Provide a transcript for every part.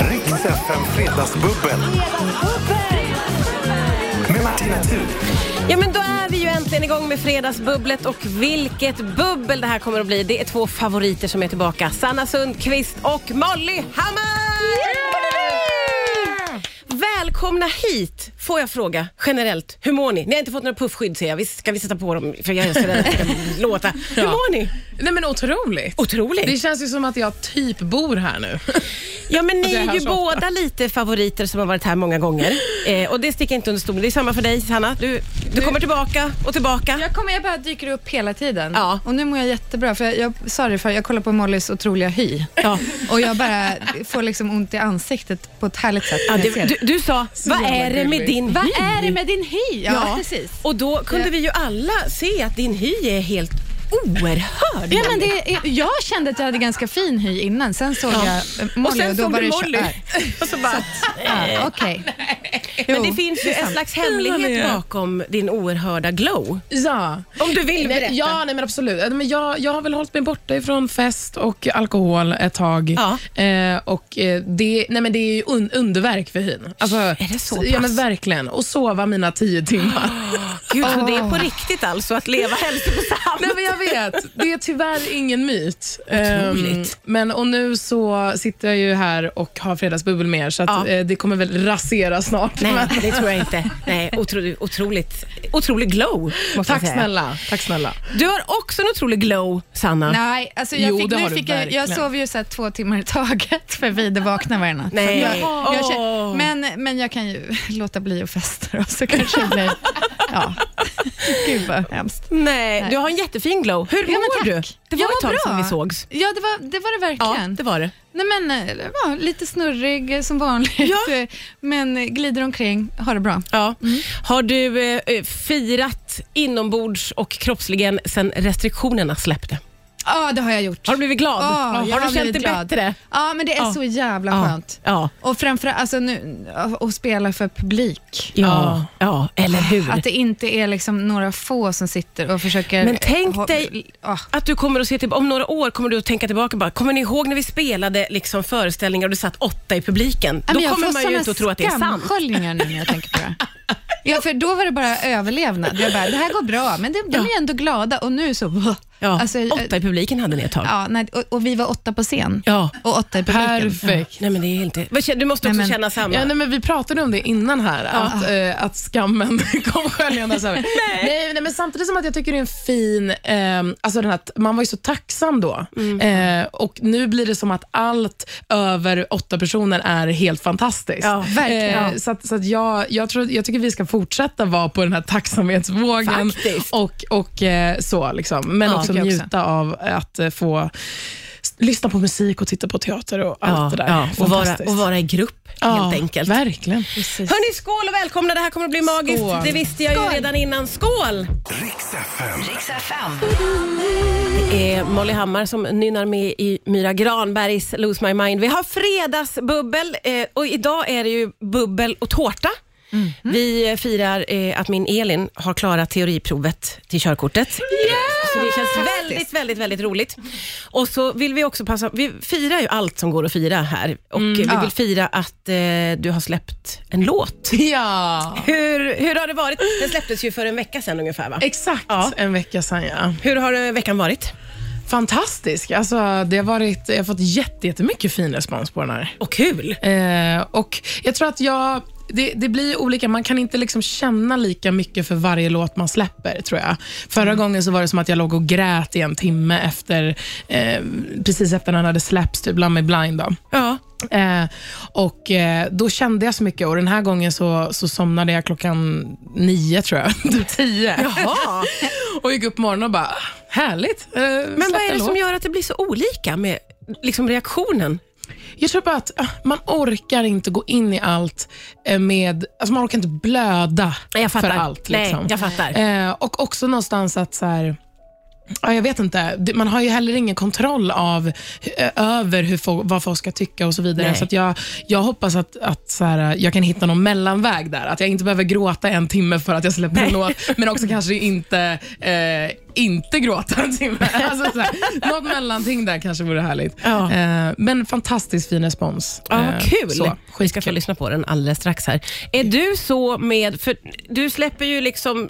FM Fredagsbubbel med Martina Thun. Ja, men då är vi ju äntligen igång med Fredagsbubblet och vilket bubbel det här kommer att bli. Det är två favoriter som är tillbaka. Sanna Sundqvist och Molly Hammar! Välkomna hit! Får jag fråga generellt, hur mår ni? Ni har inte fått några puffskydd ser jag. Visst ska vi sätta på dem för jag är så rädd att det ska låta. Hur mår ni? Nej men otroligt. Otroligt. Det känns ju som att jag typ bor här nu. Ja, men ni det är här ju så ofta. båda lite favoriter som har varit här många gånger. Eh, och det sticker inte under stolen. Det är samma för dig, Hanna. Du, du kommer tillbaka och tillbaka. Jag kommer, jag bara dyker upp hela tiden. Ja. Och nu mår jag jättebra, för jag, jag sa det för jag kollar på Mollys otroliga hy. Ja. Och jag bara får liksom ont i ansiktet på ett härligt sätt. Ja, när jag du, ser du, det. du sa, vad jävla är det med gulligt." din Vad hy? är det med din hy? Ja, precis. Och då kunde vi ju alla se att din hy är helt oerhörd. Ja, men det, är- jag kände att jag hade ganska fin hy innan, sen såg jag eh, Molly och sen då såg var du det kö- Molly. Nej. Och så bara, Ja, Okej. men Jo, det finns ju en slags hemlighet bakom din oerhörda glow. Ja. Om du vill Nej, berätta. ja, nej men absolut. Nej, Men jag, jag har väl hållit mig borta ifrån fest och alkohol ett tag. Ja. Eh, och eh, det, nej, men det är ju un, underverk för hyn. Alltså, Är det så Ja, pass? men verkligen. Och sova mina tio timmar. Gud, så det är på riktigt alltså, att leva hälsosamt. Nej, men jag vet. Det är tyvärr ingen myt. Otroligt. Ehm, men, och nu så sitter jag ju här och har fredagsbubbel med er, så att, Ja. eh, det kommer väl rasera snart. Nej, Men- det tror jag inte. Nej, otro, otroligt, otrolig glow, måste jag Tack säga. snälla. Tack snälla. Du har också en otrolig glow, Sanna. Nej, alltså jag, Jo, fick, det nu har du fick jag, jag verkligen. sov ju så här två timmar i taget för Vide vaknar varje natt. Så Nej. Jag, jag Åh. känner, men, men jag kan ju låta bli att festa och så kanske det blir... Ja. Gud vad hemskt. Nej, Nej. du har en jättefin glow. Hur Ja, men mår du? tack. Det var Jag ett mår tag sedan bra. vi sågs. Ja, det var det, var det Ja, verkligen. det var det. Nej, men, eh, ja, lite snurrig eh, som vanligt, Ja. eh, men eh, glider omkring. Har det bra. Ja. Mm. Har du eh, firat inombords och kroppsligen sen restriktionerna släppte? Ja, det har jag gjort. Har du blivit glad? Ja, Ah, jag har du känt blivit dig glad. bättre? Ja, men det är Ja. så jävla Ja. skönt. Ja. Och framförallt, alltså nu, att spela för publik. Ja. ja, eller hur? Att Att, det inte är liksom några få som sitter och försöker... Men tänk ha- dig- Ja. du kommer att se till, om några år kommer du att tänka tillbaka bara, kommer ni ihåg när vi spelade liksom föreställningar och det satt åtta i publiken? Ja, Då men jag kommer får man ju såna inte att tro att det är sant. skamsköljningar nu när jag tänker på det. Ja, för då var det bara överlevnad. Jag bara, det här går bra, men det, de är ändå glada och nu så... Ja, Alltså, eh, åtta i publiken hade ni ett tag. ja, nej, och, och vi var åtta på scen Ja. och åtta i publiken. Perfekt. Nej, men det är helt... Vad känner- Du måste också Nej, men- känna samma. Ja, nej, men vi pratade om det innan här, att, eh, att skammen kom sköljande. Så här. nej, nej, men samtidigt som att jag tycker det är en fin... Eh, alltså den här, att man var ju så tacksam då. Mm. Eh, och Nu blir det som att allt över åtta personer är helt fantastiskt. Ja, verkligen. Eh, så att, så att jag, jag, tror, jag tycker vi ska fortsätta vara på den här tacksamhetsvågen. Faktiskt. Och, och eh, så liksom. Men Ja, också tycker jag njuta av att eh, få s- lyssna på musik och titta på teater och allt det där. och, vara, Fantastiskt. och vara i grupp helt Ja, enkelt. Verkligen. Hörni, skål och välkomna. Det här kommer att bli magiskt. Skål. Det visste jag ju redan innan. Skål! Riks FM. Det är Molly Hammar som nynnar med i Myra Granbergs Lose My Mind. Vi har fredagsbubbel eh, och idag är det ju bubbel och tårta. Mhm. Vi eh, firar eh, att min Elin har klarat teoriprovet till körkortet. Så det känns väldigt, väldigt, väldigt roligt. Och så vill vi också passa, vi firar ju allt som går att fira här och Mm. eh, vi vill fira att eh, du har släppt en låt. Ja, Hur, hur har det varit? Den släpptes ju för en vecka sedan ungefär va? exakt Ja. en vecka sedan. Ja. Hur har eh, veckan varit? Fantastisk. Alltså, det har varit, jag har fått jätte- jättemycket fin respons på den här. Och kul! Eh, och jag tror att jag... Det, det blir olika. Man kan inte liksom känna lika mycket för varje låt man släpper. tror jag. Förra Mm. gången så var det som att jag låg och grät i en timme efter, eh, precis efter den hade släppts, typ Love Me Blind. Då. Ja. Eh, och eh, Då kände jag så mycket och den här gången så, så somnade jag klockan nio, tror jag. Typ tio. Jaha. och gick upp på morgonen och bara, härligt. Eh, Men vad är det som gör att det blir så olika med liksom, reaktionen? Jag tror bara att ah, man orkar inte gå in i allt eh, med, alltså man orkar inte blöda Nej, jag fattar. för allt. Nej, Liksom. jag fattar. Eh, och också någonstans att så här, Ja, jag vet inte. Det- Man har ju heller ingen kontroll av, eh, över hur folk, vad folk ska tycka och så vidare. Nej. Så att jag, jag hoppas att, att så här, jag kan hitta någon mellanväg där. Att jag inte behöver gråta en timme för att jag släpper en låt, men också kanske inte, eh, inte gråta en timme. Alltså, så här, något mellanting där kanske vore härligt. Ja. Eh, men fantastiskt fin respons. Ja, vad Eh, kul. Så, Vi ska få lyssna på den alldeles strax här. Är du så med, för du släpper ju liksom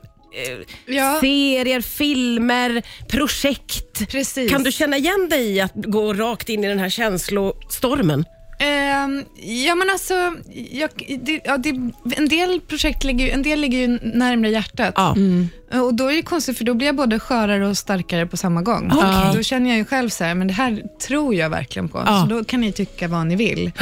eh, Ja. serier, filmer, projekt. Precis. Kan du känna igen dig i att gå rakt in i den här känslostormen? Ehm, ja, men alltså, jag, det, ja, det, en, del projekt ligger, ju- en del ligger ju närmare hjärtat. Eh, Ja. Och Då är det konstigt, för då blir jag både skörare och starkare på samma gång. Okej. Då känner jag ju själv så här, men det här tror jag verkligen på. Ja. Så då kan ni tycka vad ni vill.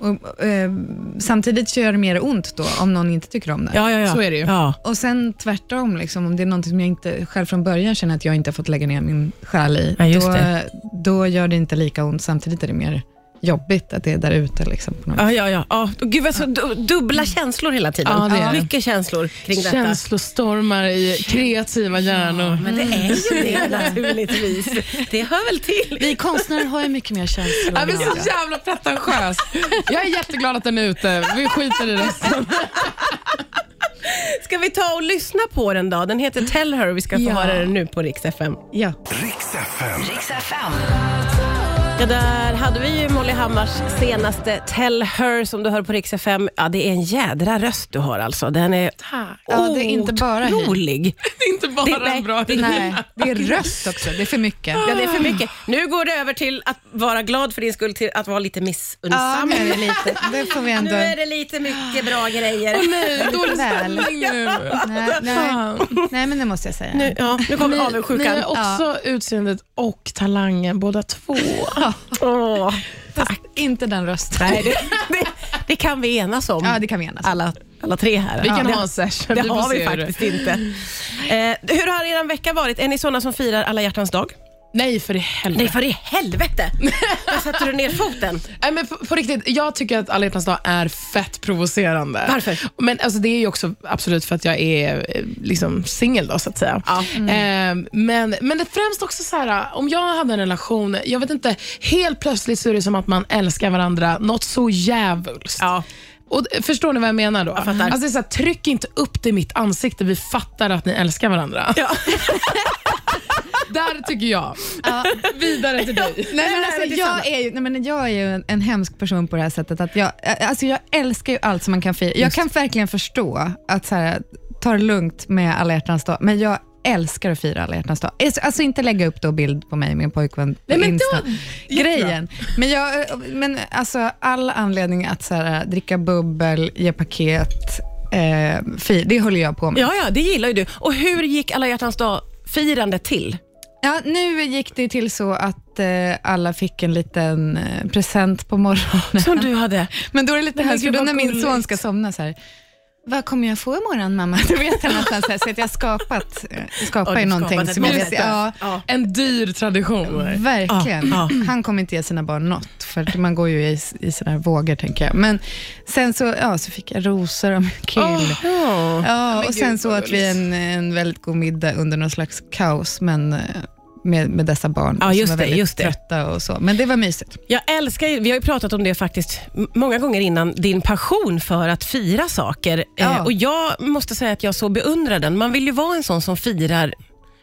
Och, eh, samtidigt så gör det mer ont då, om någon inte tycker om det. ja, ja. Så är det ju. Ja. Och sen tvärtom, liksom, om det är något som jag inte själv från början känner att jag inte har fått lägga ner min själ i, Ja, just då, det. då gör det inte lika ont. Samtidigt är det mer jobbigt att det är där ute. Liksom, på något Ja, ja, ja. ja. Gud, vad så du- dubbla känslor hela tiden. Ja, det är det. Mycket känslor kring detta. Känslostormar i kreativa hjärnor. Men det är ju det naturligtvis. Det hör väl till. Vi konstnärer har ju mycket mer känslor. Ja, än men andra. så jävla pretentiös. Jag är jätteglad att den är ute. Vi skiter i resten. Ska vi ta och lyssna på den då? Den heter Tell Her och vi ska få höra den nu på Rix FM. ja. Riks FM. Ja, där hade vi ju Molly Hammars senaste Tell Her som du hör på Rix FM. Ja, det är en jädra röst du har alltså. Den är Ja, det är inte bara hy. otrolig. Det är inte bara Det- nej, en bra det- Nej, det är röst också. Det är för mycket. Ja, det är för mycket. Nu går det över till att vara glad för din skull, till att vara lite Ja, missunnsam. nu är det lite. Det får vi nu ändå... är det lite mycket bra grejer. Nej, dålig Väl. stämning nu. Nej, nej. nej, men det måste jag säga. Nu, ja, nu kommer Ni avundsjukan. har också utseendet och talangen båda två. Åh, Fast inte den rösten. nej, det, det, det kan vi enas om, Ja, det kan vi enas om. alla, alla tre här. Vi kan Ja. ha en session. Det får har se vi hur det- faktiskt inte. Eh, hur har er vecka varit? Är ni såna som firar alla hjärtans dag? Nej, för i helvete. Nej, för i helvete! Där satte du ner foten. Nej, men på, på riktigt, jag tycker att alla hjärtans dag är fett provocerande. Varför? Men alltså, det är ju också absolut för att jag är eh, liksom singel då, så att säga. Ja. Eh, men, men det främst också så här, om jag hade en relation, jag vet inte, helt plötsligt så är det som att man älskar varandra något så djävulskt. Ja. Och, förstår ni vad jag menar då? Jag fattar. Alltså, det är så här, tryck inte upp det i mitt ansikte, vi fattar att ni älskar varandra. Ja. Där tycker jag. Vidare till dig. Nej, men Nej, alltså, men det är samma. jag, är ju, nej, men jag är ju en, en hemsk person på det här sättet. Att jag, ä- alltså, jag älskar ju allt som man kan fira. Jag kan verkligen förstå att så här, ta det lugnt med alla hjärtans dag, men jag älskar att fira alla hjärtans dag. Alltså- Alltså inte lägga upp då bild på mig och min pojkvän på Nej, men Insta. då- Grejen. Men, jag, ä, men alltså, all anledning att så här, dricka bubbel, ge paket, eh, fira, det håller jag på med. ja, ja, det gillar ju du. Och hur gick alla hjärtans dag-firandet till? Ja, nu gick det till så att eh, alla fick en liten eh, present på morgonen. Som du hade. Men då är det lite här, gud, för då vad när min gulligt. son ska somna så här, vad kommer jag få imorgon mamma? Då vet han att han så, här, så att jag har skapat, eh, skapar Ja, ju du någonting skapade som jag ett vet, mönster. ja, Ja. En dyr tradition. verkligen. Ja, Han kommer inte ge sina barn något, för att man går ju i, i sådana här vågor tänker jag. Men sen så, ja, så fick jag rosor av min kille. Ja, och sen gud, så vad åt vi en, en väldigt god middag under någon slags kaos, men eh, med, med dessa barn Ja, just som var det, väldigt just det. trötta och så. Men det var mysigt. Jag älskar ju, vi har ju pratat om det faktiskt m- många gånger innan, din passion för att fira saker. Ja. Eh, och jag måste säga att jag så beundrar den. Man vill ju vara en sån som firar,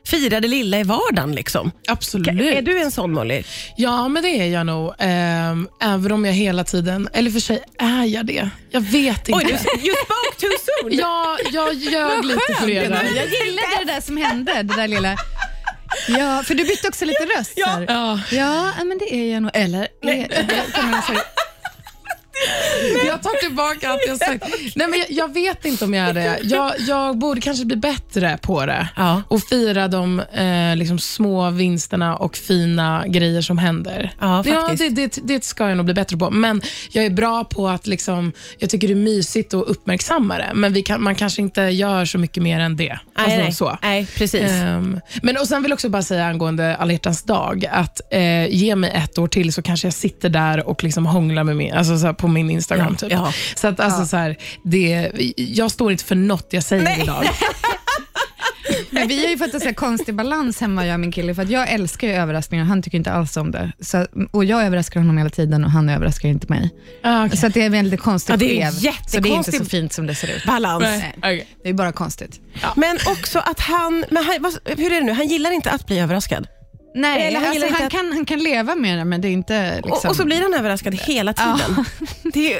firar det lilla i vardagen. Liksom. Absolut. Är du en sån Molly? Ja, men det är jag nog. Ehm, även om jag hela tiden, eller för sig är jag det. Jag vet Oj, inte. du, you spoke too soon. Ja, jag ljög lite för er. där. Jag gillade det där som hände, det där lilla... Ja, för du bytte också lite röst ja. här. Ja. Ja, men det är jag nog. Eller? Är, det kommer jag säga. Jag tar tillbaka allt jag sagt. Nej, men jag, jag vet inte om jag är det. Jag, jag borde kanske bli bättre på det Ja. och fira de eh, liksom små vinsterna och fina grejer som händer. Ja, det, faktiskt. det, det ska jag nog bli bättre på, men jag är bra på att liksom, jag tycker det är mysigt att uppmärksamma det, men vi kan, man kanske inte gör så mycket mer än det. Alltså, nej, så. nej, precis. Ehm, men och Sen vill jag också bara säga angående alla hjärtans dag, att eh, ge mig ett år till så kanske jag sitter där och liksom hånglar med min, alltså, så här, på min Instagram. Ja, typ. ja. Så att, alltså, så här, det, jag står inte för något jag säger idag. Men vi har ju fått en sån här konstig balans hemma, jag och min kille, för att jag älskar ju överraskningar och han tycker inte alls om det. Så, och jag överraskar honom hela tiden och han överraskar inte mig. Ah, okej. Så att det är en väldigt konstig Ja, det är skev. Så det är inte jättekonstig- så fint som det ser ut. Balans. Nej, okej. Det är bara konstigt. Men också att han, men han vad, hur är det nu, han gillar inte att bli överraskad. Nej, Eller han han, gillar alltså, inte han, att- kan, han kan leva med det, men det är inte... Liksom... Och, och så blir han överraskad hela Ja. tiden. Det är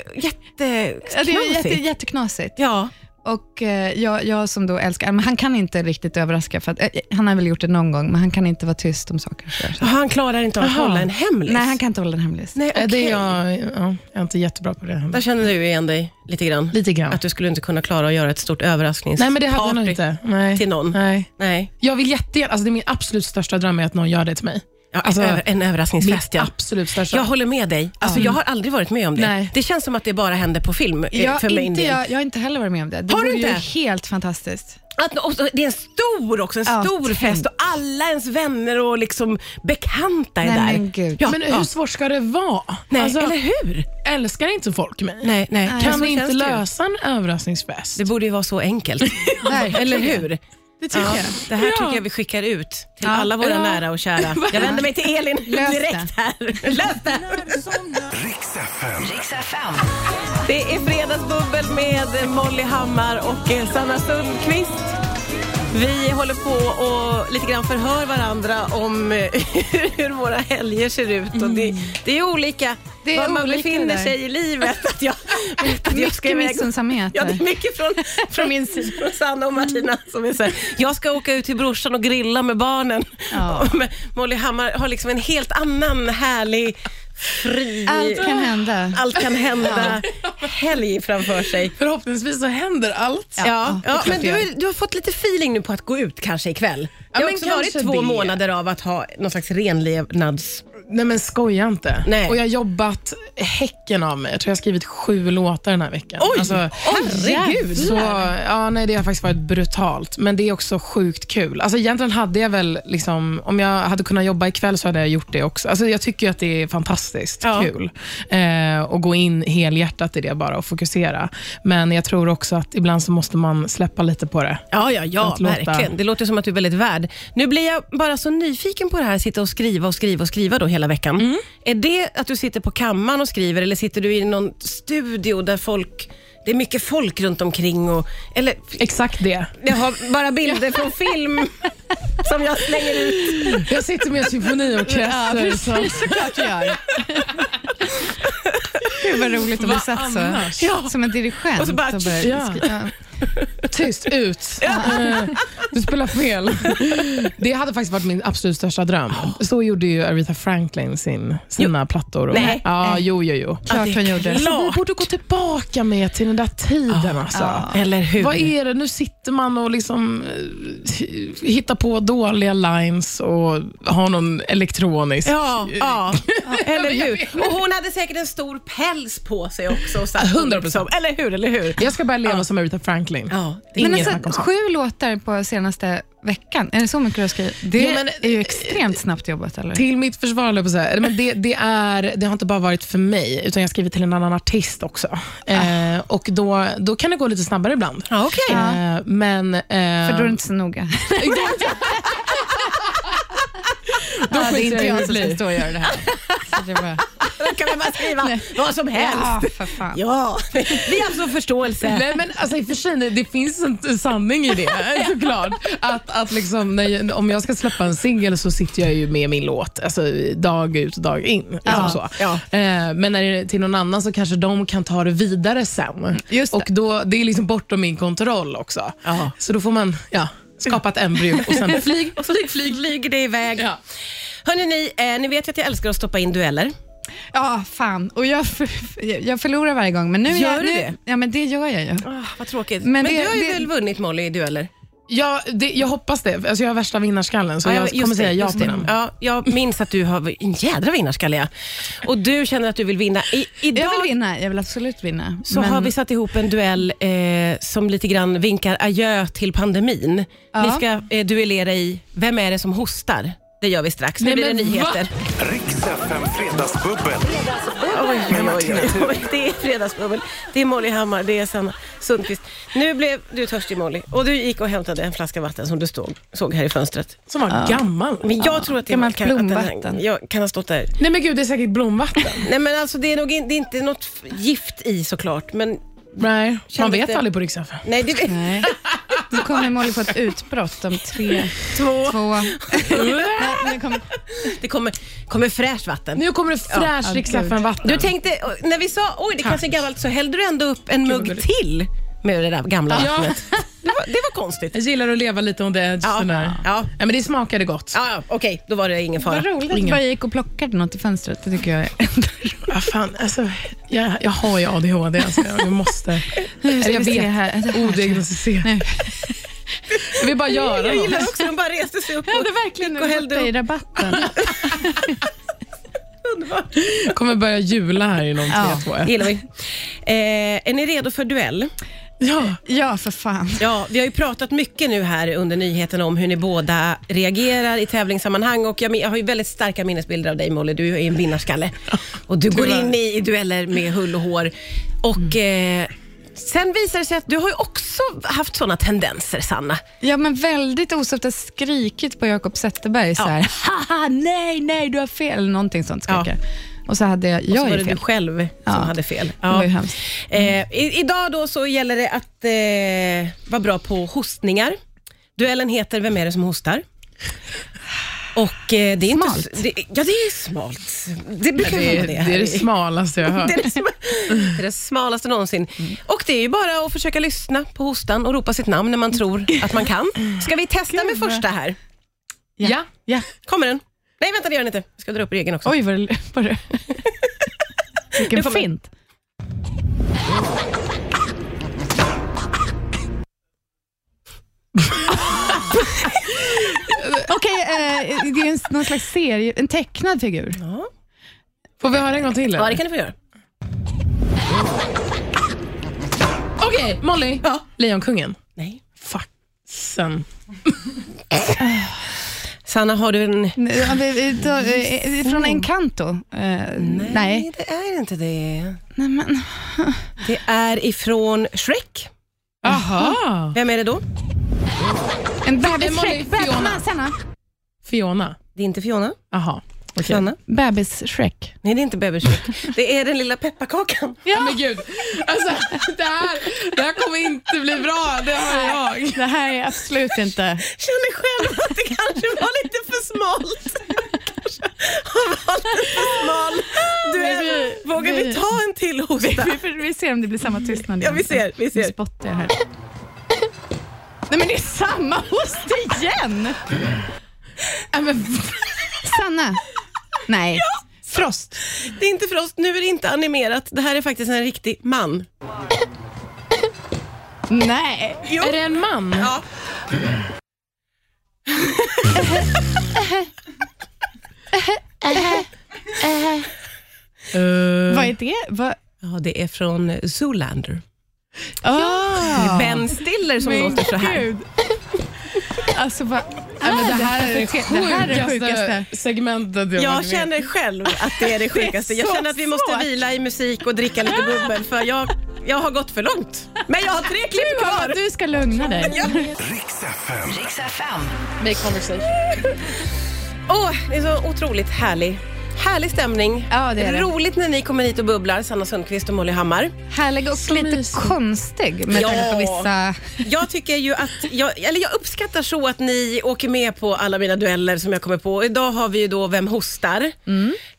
Ja, det är jätte, jätteknasigt. jätteknasigt. Ja, Och eh, jag, jag som då älskar, men han kan inte riktigt överraska, för att, eh, han har väl gjort det någon gång, men han kan inte vara tyst om saker. och sådär. Så. han klarar inte av att Aha. hålla en hemlis. Nej, han kan inte hålla den hemlis. Nej, Eh, Det okej. är jag, ja, jag är inte jättebra på det. här. Där känner du igen dig lite grann. Lite grann. Att du skulle inte kunna klara att göra ett stort överrasknings Nej, men det hade jag nog party inte. Nej. till någon. Nej. Nej. Jag vill jättegärna, alltså det är min absolut största dröm är att någon gör det till mig. Ja, Alltså, en, över, en Min överraskningsfest, ja. absolut största. Jag håller med dig. Alltså, Jag har aldrig varit med om det. Nej. Det känns som att det bara händer på film. eh, Jag, för mig inte, del. jag, jag har inte heller varit med om det. Det Har du vore inte? ju helt fantastiskt. Att, och, så- det är en stor också, en Ja, stor tänk. fest och alla ens vänner och liksom bekanta är Nej, där. men gud. Ja, men hur ja. svårt ska det vara? Nej, Alltså, eller hur? Älskar inte folk mig? Nej, nej. Kan så vi inte känns det ju. lösa en överraskningsfest? Det borde ju vara så enkelt. Verkligen. eller hur? Det tycker Ja, det här Ja. tycker jag vi skickar ut till Ja. alla våra Ja. nära och kära. Jag vänder mig till Elin Lös det. direkt här. Lös det! Riks FM. Det är Fredagsbubbel med Molly Hammar och eh, Sanna Sundqvist. Vi håller på och lite grann förhör varandra om eh, hur våra helger ser ut. Och det, det är olika Mm. Det är var man olika befinner där. sig i livet. Att jag, att jag ska Mycket iväg- missunnsamhet. Ja, det är mycket från, från min sida, från Sanna och Martina som är så här, jag ska åka ut till brorsan och grilla med barnen. Ja. Och Molly Hammar har liksom en helt annan härlig, fri... Allt kan hända. Allt kan hända. Helg framför sig. Förhoppningsvis så händer allt. Ja, ja, det är klart men det du, gör. är- du har fått lite feeling nu på att gå ut kanske ikväll. Det har men också varit kanske två det. månader av att ha någon slags renlevnads... Nej men skoja inte. Nej. Och jag har jobbat häcken av mig. Jag tror jag har skrivit sju låtar den här veckan. Alltså, Oj, herregud. Så, ja, nej, det har faktiskt varit brutalt, men det är också sjukt kul. Alltså, egentligen hade jag väl, liksom, om jag hade kunnat jobba ikväll så hade jag gjort det också. Alltså, jag tycker ju att det är fantastiskt Ja. kul eh, att gå in helhjärtat i det bara och fokusera. Men jag tror också att ibland så måste man släppa lite på det. Ja, ja, ja, Att låta- verkligen. Det låter som att du är väldigt värd. Nu blir jag bara så nyfiken på det här, sitta och skriva och skriva och skriva då hela veckan. Är det att du sitter på kammaren och skriver eller sitter du i någon studio där folk, det är mycket folk runt omkring och, eller Exakt det. jag har bara bilder från film som jag slänger ut. Jag sitter med typ en symfoniorkester. så. såklart du gör. Gud vad roligt om du Vad satt annars? så. Som en dirigent. Och så bara- började Ja. skriva. ja. Tyst, ut. Eh, Du spelar fel. Det hade faktiskt varit min absolut största dröm. Så gjorde ju Aretha Franklin sin, sina plattor. Och, Nej. Ja, jo, jo, jo. Ja, det Klart är hon gjorde. klart. Alltså, vi borde gå tillbaka med till den där tiden. alltså. Eller hur? Vad är det? Nu sitter man och liksom eh, hittar på dåliga lines och har någon elektronisk. Ja, ja, eller hur? Och hon hade säkert en stor päls på sig också. Och satt 100%. liksom. Eller hur, eller hur? Jag ska börja leva som Aretha Franklin. Ja, det är Men inget snack alltså, om saken. sju låtar på senaste veckan. Är det så mycket du har skrivit? Det Jo, men- är ju extremt snabbt jobbat. Eller? Till mitt försvar, höll jag på att säga. Men det, det, är, det har inte bara varit för mig, utan jag har skrivit till en annan artist också. Ah. Eh, och då, då kan det gå lite snabbare ibland. Ja, okej. Eh, men... Eh, För då är det inte så noga. då Ja, det är skiter inte i jag hur som det ska blir. stå och göra det här. Så det är bara... Då kan man bara skriva vad som Ja, helst. för fan. Ja, vi har alltså förståelse. Nej, men alltså, i och för sig, nej, det finns en sanning i det såklart. Att, att liksom, när jag, om jag ska släppa en singel så sitter jag ju med min låt alltså, dag ut och dag in. Liksom så. ja. Eh, men när det är till någon annan så kanske de kan ta det vidare sen. Just det. Och då, det är liksom bortom min kontroll också. Ja. Så då får man ja, skapa ett embryo och sen flyg. Och så flyger det iväg. Ja. Hörrni, ni, eh, ni vet ju att jag älskar att stoppa in dueller. Ja, fan. Och jag, jag förlorar varje gång. Men nu är Gör jag, du nu, det? Ja, men det gör jag ju. Ah, vad tråkigt. Men, Men det- du har ju det- väl vunnit Molly i dueller? Ja, det, jag hoppas det. Alltså, jag har värsta vinnarskallen så Ja, jag just kommer säga det, ja just på det. den. Ja, jag minns att du har en jädra vinnarskalle. ja. Och du känner att du vill vinna. I, idag Jag vill vinna. Jag vill absolut vinna. så men, har vi satt ihop en duell eh, som lite grann vinkar adjö till pandemin. Ja. Ni ska eh, duellera i Vem är det som hostar? Det gör vi strax. Nu Nej, blir det men va? nyheter. Riks FM Fredagsbubbel. Oj, oj, Med oj. oj, oj. Det är fredagsbubbel. Det är Molly Hammar, det är Sanna Sundqvist. Nu blev du törstig Molly och du gick och hämtade en flaska vatten som du stod, såg här i fönstret. Som var gammal. Men jag tror att det gammalt kan, att den här, blomvatten. jag kan ha stått där. Nej men gud, det är säkert blomvatten. Nej men alltså det är nog in, det är inte något f- gift i såklart, men Nej, man Kände vet lite- aldrig på Riksdagen. nej det är Nej. Nu kommer Molly på ett utbrott om tre, två. två... Nej, nu kommer- Det kommer, kommer fräscht vatten. Nu kommer det fräsch Ja, Rix FM vatten. Du tänkte, och när vi sa oj det kanske är gammalt så hällde du ändå upp en vad mugg gulligt. till med det där gamla Ja. vattnet. Det var, det var konstigt. jag gillar att leva lite on the edge. Ja. Sådär. Ja. men det smakade gott. Ja, ja, okej, då var det ingen fara. Vad roligt att du bara gick och plockade något i fönstret. Det tycker jag är... Ja, fan, alltså, jag, jag har ju ADHD, alltså, jag måste... Nu ska jag vi se vet. här. Odiagnostiserat. Nej. Jag vill bara göra Jag gillar något. också hon bara reste sig upp Jag och hade verkligen gick och hällde borta upp. i rabatten. Underbart. Jag kommer börja jula här inom Ja. tre, två, ett. gillar vi. Eh, är ni redo för duell? Ja. Ja, för fan. Ja, vi har ju pratat mycket nu här under nyheterna om hur ni båda reagerar i tävlingssammanhang och jag, men- jag har ju väldigt starka minnesbilder av dig Molly, du är ju en vinnarskalle. Och du går in i, i dueller med hull och hår. Och eh, sen visar det sig att du har ju också haft sådana tendenser Sanna. Ja, men väldigt osoft. Jag har skrikit på Jakob Zetterberg så här. Haha, nej, nej, du har fel. Eller någonting sånt Ja. skriker jag. Och så hade jag, Och så jag var är det du fel. själv som Ja. hade fel. Det var ju hemskt. Eh, i, idag då så gäller det att eh, vara bra på hostningar. Duellen heter Vem är det som hostar? Och eh, det är Smalt. Inte, s- det, ja, det är smalt. Det brukar Det, vara är, det det här är det i- smalaste jag har hört. det är det sm- det är det smalaste någonsin. Mm. Och det är ju bara att försöka lyssna på hostan och ropa sitt namn när man tror att man kan. Ska vi testa med första här? Ja. Ja. Kommer den? Nej, vänta det gör den inte. Jag ska dra upp regeln också. Oj, vad det... Vad det... Nu Vilken kommer- fint. Okej, eh, det är en, någon slags serie, en tecknad figur. Ja. Får vi höra en gång till? ja, det eller? kan du få göra. Okej, Molly. Lejonkungen. Nej. Fuck. Sen. Sanna, har du en... Nu, ja, vi- vi tar, eh, Från Encanto? Eh, nej. nej. det är inte det. men. Det är ifrån Shrek. Aha. Vem är det då? En Molly, bebis-Shrek. Fiona. Sanna. Fiona. Det är inte Fiona. Aha. Okej. Sanna? Bebis-Shrek. Nej, det är inte Bebis Shrek. Det är den lilla pepparkakan. Ja. Men gud, alltså, det, här, det här kommer inte bli bra. Det har jag. Det här är absolut inte... Känner själv att det kanske var lite för smalt. Kanske har valt en för smal duell. Vågar vi ta en till hosta? Vi, får- vi ser om det blir samma tystnad. Ja, vi ser. Vi Nu ser. spottar jag här. Nej men det är samma host igen! Nej, men Sanna. Nej. Frost. Det är inte Frost. Nu är det inte animerat. Det här är faktiskt en riktig man. Nej. Är det en man? Ja. Eh, Vad är det? Vad? Ja, det är från Zoolander. Ah. Ben Stiller som låter så här. Gud. Alltså vad nej, men det här är det sjukaste. Det här är det sjukaste. sjukaste segmentet jag Jag varit med i. känner själv att det är Ah. det sjukaste. Jag så känner att vi måste svårt. vila i musik och dricka lite bubbel för jag, jag har gått för långt. Men jag har tre klipp Gud, kvar. Du ska lugna dig. Riks FM. Riks FM. Make conversation. Åh, det är så otroligt härlig. Härlig stämning. Ja, det är det. Roligt när ni kommer hit och bubblar, Sanna Sundqvist och Molly Hammar. Härlig och lite konstig med Ja. tanke på vissa... Jag tycker ju att, jag, eller jag uppskattar så att ni åker med på alla mina dueller som jag kommer på. Idag har vi ju då Vem hostar?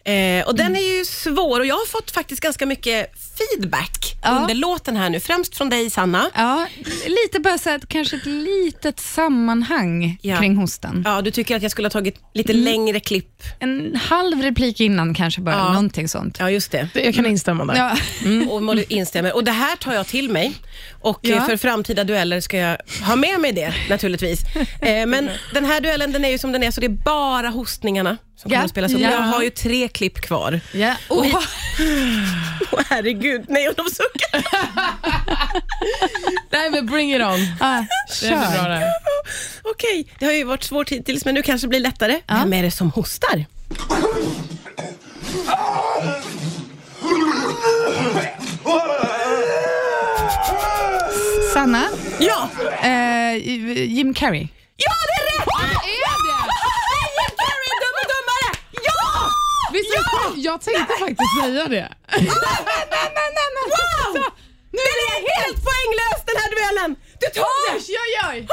Eh, och den är ju svår och jag har fått faktiskt ganska mycket feedback Ja. under låten här nu. Främst från dig Sanna. Ja, lite bara så här, kanske ett litet sammanhang Ja. kring hostan. Ja, du tycker att jag skulle ha tagit lite längre klipp. En halv replik innan kanske bara, Ja. Mm. någonting sånt. Ja, just det. Jag kan instämma där. Ja. Och Molly instämmer. Och det här tar jag till mig. Och Ja. eh, för framtida dueller ska jag ha med mig det naturligtvis. Eh, men den här duellen den är ju som den är, så det är bara hostningarna som Ja. kommer att spelas upp. Ja. Jag har ju tre klipp kvar. Ja. Oh. Åh herregud, nej och de suckar. Nej, men bring it on. Ah, Det är för bra kör. det här. Okej, det har ju varit svårt hittills men nu kanske det blir lättare. Vem är det som hostar? Sanna, Ja! eh, Jim Carrey. Ja, det är rätt! Det är Jim Carrey, dubbeldummare! Ja! Visst, är det sjukt? Jag tänkte faktiskt säga det. Wow! Den Alltså, är helt poänglös den här duellen! Du tog Ah! den! Oj, oj,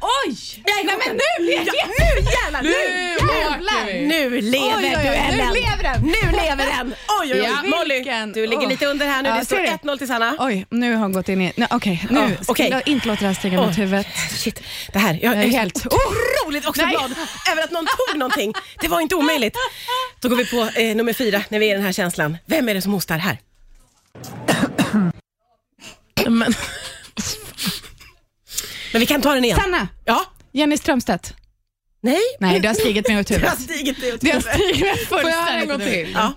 Oj! Nej, men nu lever ja, Nu jävlar! Nu, åker vi. nu lever Oj, oj, oj, duellen! nu lever den. Nu lever den! Oj, oj, oj. Ja, Molly, vilken- du ligger åh. lite under här nu. Ja, det står ser du? 1-0 till Sanna. Oj, nu har hon gått in i... Nej, Okej, nu Ja, ska okej. jag inte låta det här stiga mot Oj. huvudet. Shit, det här. Jag, är jag är helt- helt otroligt också glad över att någon tog någonting. Det var inte omöjligt. Då går vi på eh, nummer fyra, när vi är i den här känslan. Vem är det som hostar här? Men, Men vi kan ta den igen. Sanna, Ja. Jenny Strömstedt. Nej. Nej, det har stigit mig åt Jag har huvudet. stigit ut. Det har stigit mig får jag höra en fullständigt gång åt huvudet. till? Ja.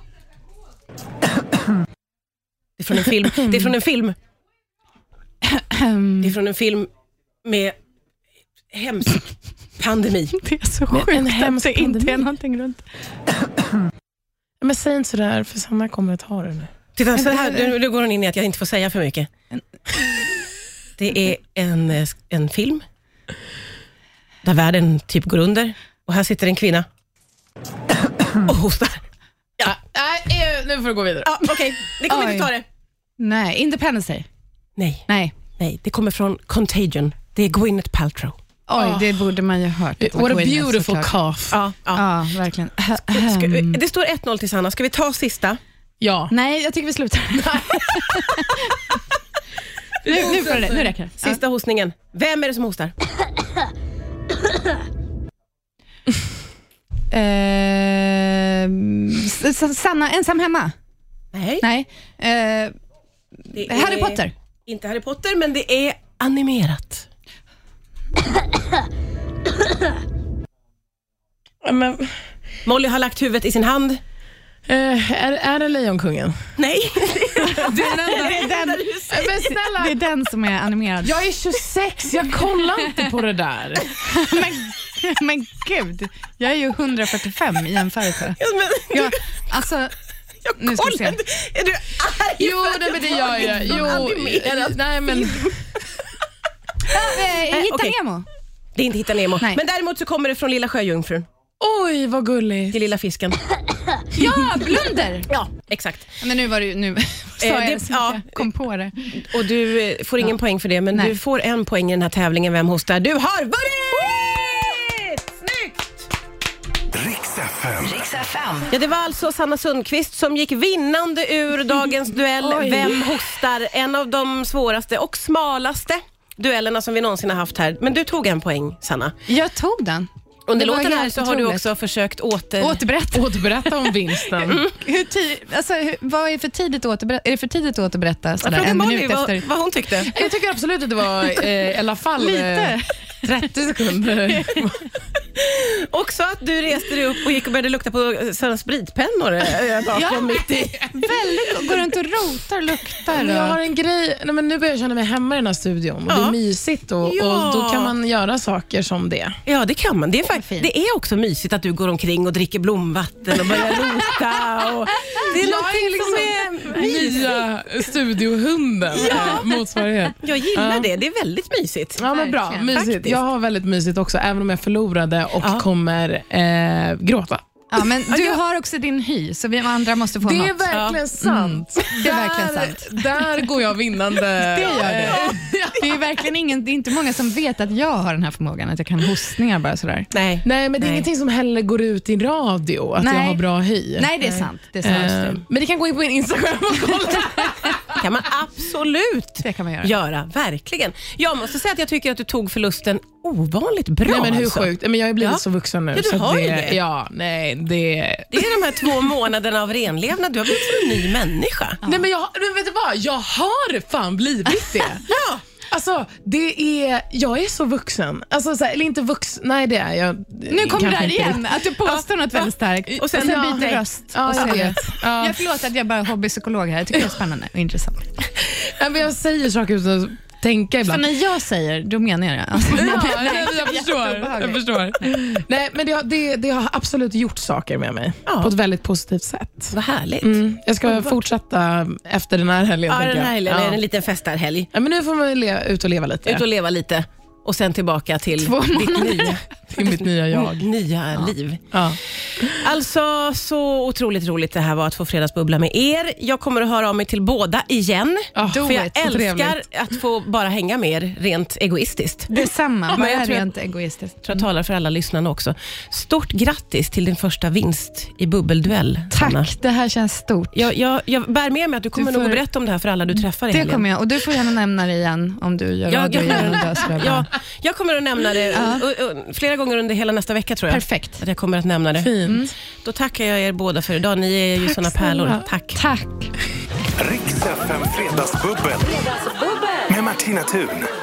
Det är från en film. Det är från en film. Det är från en film med hemsk pandemi. Det är så sjukt en att hemsk det inte är pandemi. någonting runt. men säg inte sådär, för Sanna kommer att ta det nu. Titta, så här, nu, nu går hon in i att jag inte får säga för mycket. Det är en, eh, en film där världen typ går under och här sitter en kvinna och hostar. Ja, Nej, eh, nu får du gå vidare. ja okej. Ni kommer inte Oj. ta det. Nej, Independence Day. Nej, Nej. nej, det kommer från Contagion. Det är Gwyneth Paltrow. Oj, Ah. det borde man ju ha hört. att What a gå in i, beautiful såklart. cough. Ja, ja. Ja, verkligen. Ska vi, Mm. det står 1-0 till Sanna. Ska vi ta sista? Ja. Nej, jag tycker vi slutar. nu, nu, får det, nu räcker det. Sista hostningen. Vem är det som hostar? Eh, S- S- Sanna ensam hemma? Nej. Nej. Eh, det Harry är Potter? Inte Harry Potter, men det är animerat. Men, Molly har lagt huvudet i sin hand. eh, är, är det Lejonkungen? Nej. Det är, den, Det är det du säger. Men det snälla, är den som är animerad. jag är 26, jag kollar inte på det där. Men, men gud, jag är ju 145 i jämförelse. Ja, men- Jag, alltså, Jag Nu ska vi se. kollade. Är du arg Jo, för att nej, men det var gör jag. liksom Jo, animerad? nej, men, eh, Hitta okej. Nemo. Det är inte Hitta Nemo. Nej. Men däremot så kommer det från Lilla Sjöjungfrun oj, vad gulligt. till Lilla Fisken. Ja, Blunder. Ja, exakt. Men nu var det ju, nu sa Eh, jag det- det, så ja. jag kom på det. Och du eh, får ingen poäng för det, men Nej. du får en poäng i den här tävlingen Vem hostar? Du har vunnit! Snyggt! Riks FM. Ja, det var alltså Sanna Sundqvist som gick vinnande ur dagens duell Vem hostar? En av de svåraste och smalaste duellerna som vi någonsin har haft här. Men du tog en poäng, Sanna. Jag tog den. Under Det var låten här helt så har du otroligt. också försökt åter... Återberätta. Återberätta om vinsten. Hur ti- alltså, hur, vad är för tidigt att återberätta? Är det för tidigt att återberätta sådär, Fråga en Molly minut vad, efter? vad hon tyckte. Jag tycker absolut att det var eh, i alla fall eh, Lite. 30 sekunder. Också att du reste dig upp och gick och började lukta på eh, sådana spritpennor eh, bakom mitt i. Väldigt, går runt och rotar, luktar. Men jag har Och, en grej, nej men nu börjar jag känna mig hemma i den här studion. Det Ja. är mysigt och, Ja. och då kan man göra saker som det. Ja, det kan man. Det är, fakt- fint. det är också mysigt att du går omkring och dricker blomvatten och börjar rota. Och det är någonting liksom- som är mysigt. Nya studiohunden eh, motsvarighet. Jag gillar det. Det är väldigt mysigt. Ja, men bra. Verkligen. Mysigt. Faktiskt. Jag har väldigt mysigt också, även om jag förlorade och Ja. kommer eh, gråta. ja, men du har också din hy, så vi andra måste få något. verkligen sant. Det är verkligen sant. Mm. Där går jag vinnande. Det gör du. Det är verkligen ingen, det är inte många som vet att jag har den här förmågan, att jag kan hostningar bara sådär. Nej. Nej, men det är Nej. ingenting som heller går ut i radio, att jag Nej. har bra hy. Nej, det är sant. Det är Eh, sant. men det kan gå in på min Instagram och kolla. Det kan man absolut Det kan man göra. göra. Verkligen. Jag måste säga att jag tycker att du tog förlusten ovanligt bra. Nej, men hur alltså. sjukt. Men jag har ju blivit Ja. så vuxen nu. Ja, du så att har ju det, det. Ja, nej, det... Det är de här två månaderna av renlevnad. Du har blivit som en ny människa. Nej, men, jag, men vet du vad? Jag har fan blivit det. Ja. Alltså, det är, jag är så vuxen. Alltså, så här, eller inte vuxen, nej det är jag. Nu kom det Kanske där inte riktigt. igen, att du påstår något väldigt starkt Och och sen- sen, ja, byter nej. röst. Ja, och jag säger- vet. Ja. Jag förlåt att jag bara är hobbypsykolog här. Jag tycker det är spännande och intressant. Nej, men jag säger saker utan att tänka Så ibland. när jag säger, då menar jag det. Alltså, Ja, jag, jag förstår. Jag förstår. Nej, men det har, det, det har absolut gjort saker med mig Ja. på ett väldigt positivt sätt. Vad härligt. Mm, jag ska fortsätta efter den här helgen. Ja, den tänker jag. här helgen Ja. är det en liten festarhelg. Ja, men nu får man ju le, ut och leva lite. Ut och leva lite och sen tillbaka till Två ditt nya, Till mitt nya jag. nya liv. Ja. Alltså så otroligt roligt det här var att få fredagsbubbla med er. Jag kommer att höra av mig till båda igen. Ja, för jag it. Så älskar trevligt. att få bara hänga med er rent egoistiskt. Detsamma, Men bara jag är tror att- rent egoistiskt. Jag tror jag talar för alla lyssnarna också. Stort grattis till din första vinst i bubbelduell. Sanna. Tack, det här känns stort. Jag, jag, jag bär med mig att du kommer får- nog att berätta om det här för alla du träffar i Det helgen. kommer jag, och du får gärna nämna det igen om du gör Ja, radio ja. igen och dödsrövar. Ja, jag kommer att nämna det ö- ö- flera gånger under hela nästa vecka tror jag. Perfekt. Att jag kommer att nämna det. Fint. Då tackar jag er båda för idag. Ni är ju såna pärlor. snälla. Tack. Tack. Riks FM Fredagsbubbel. Med Martina Thun.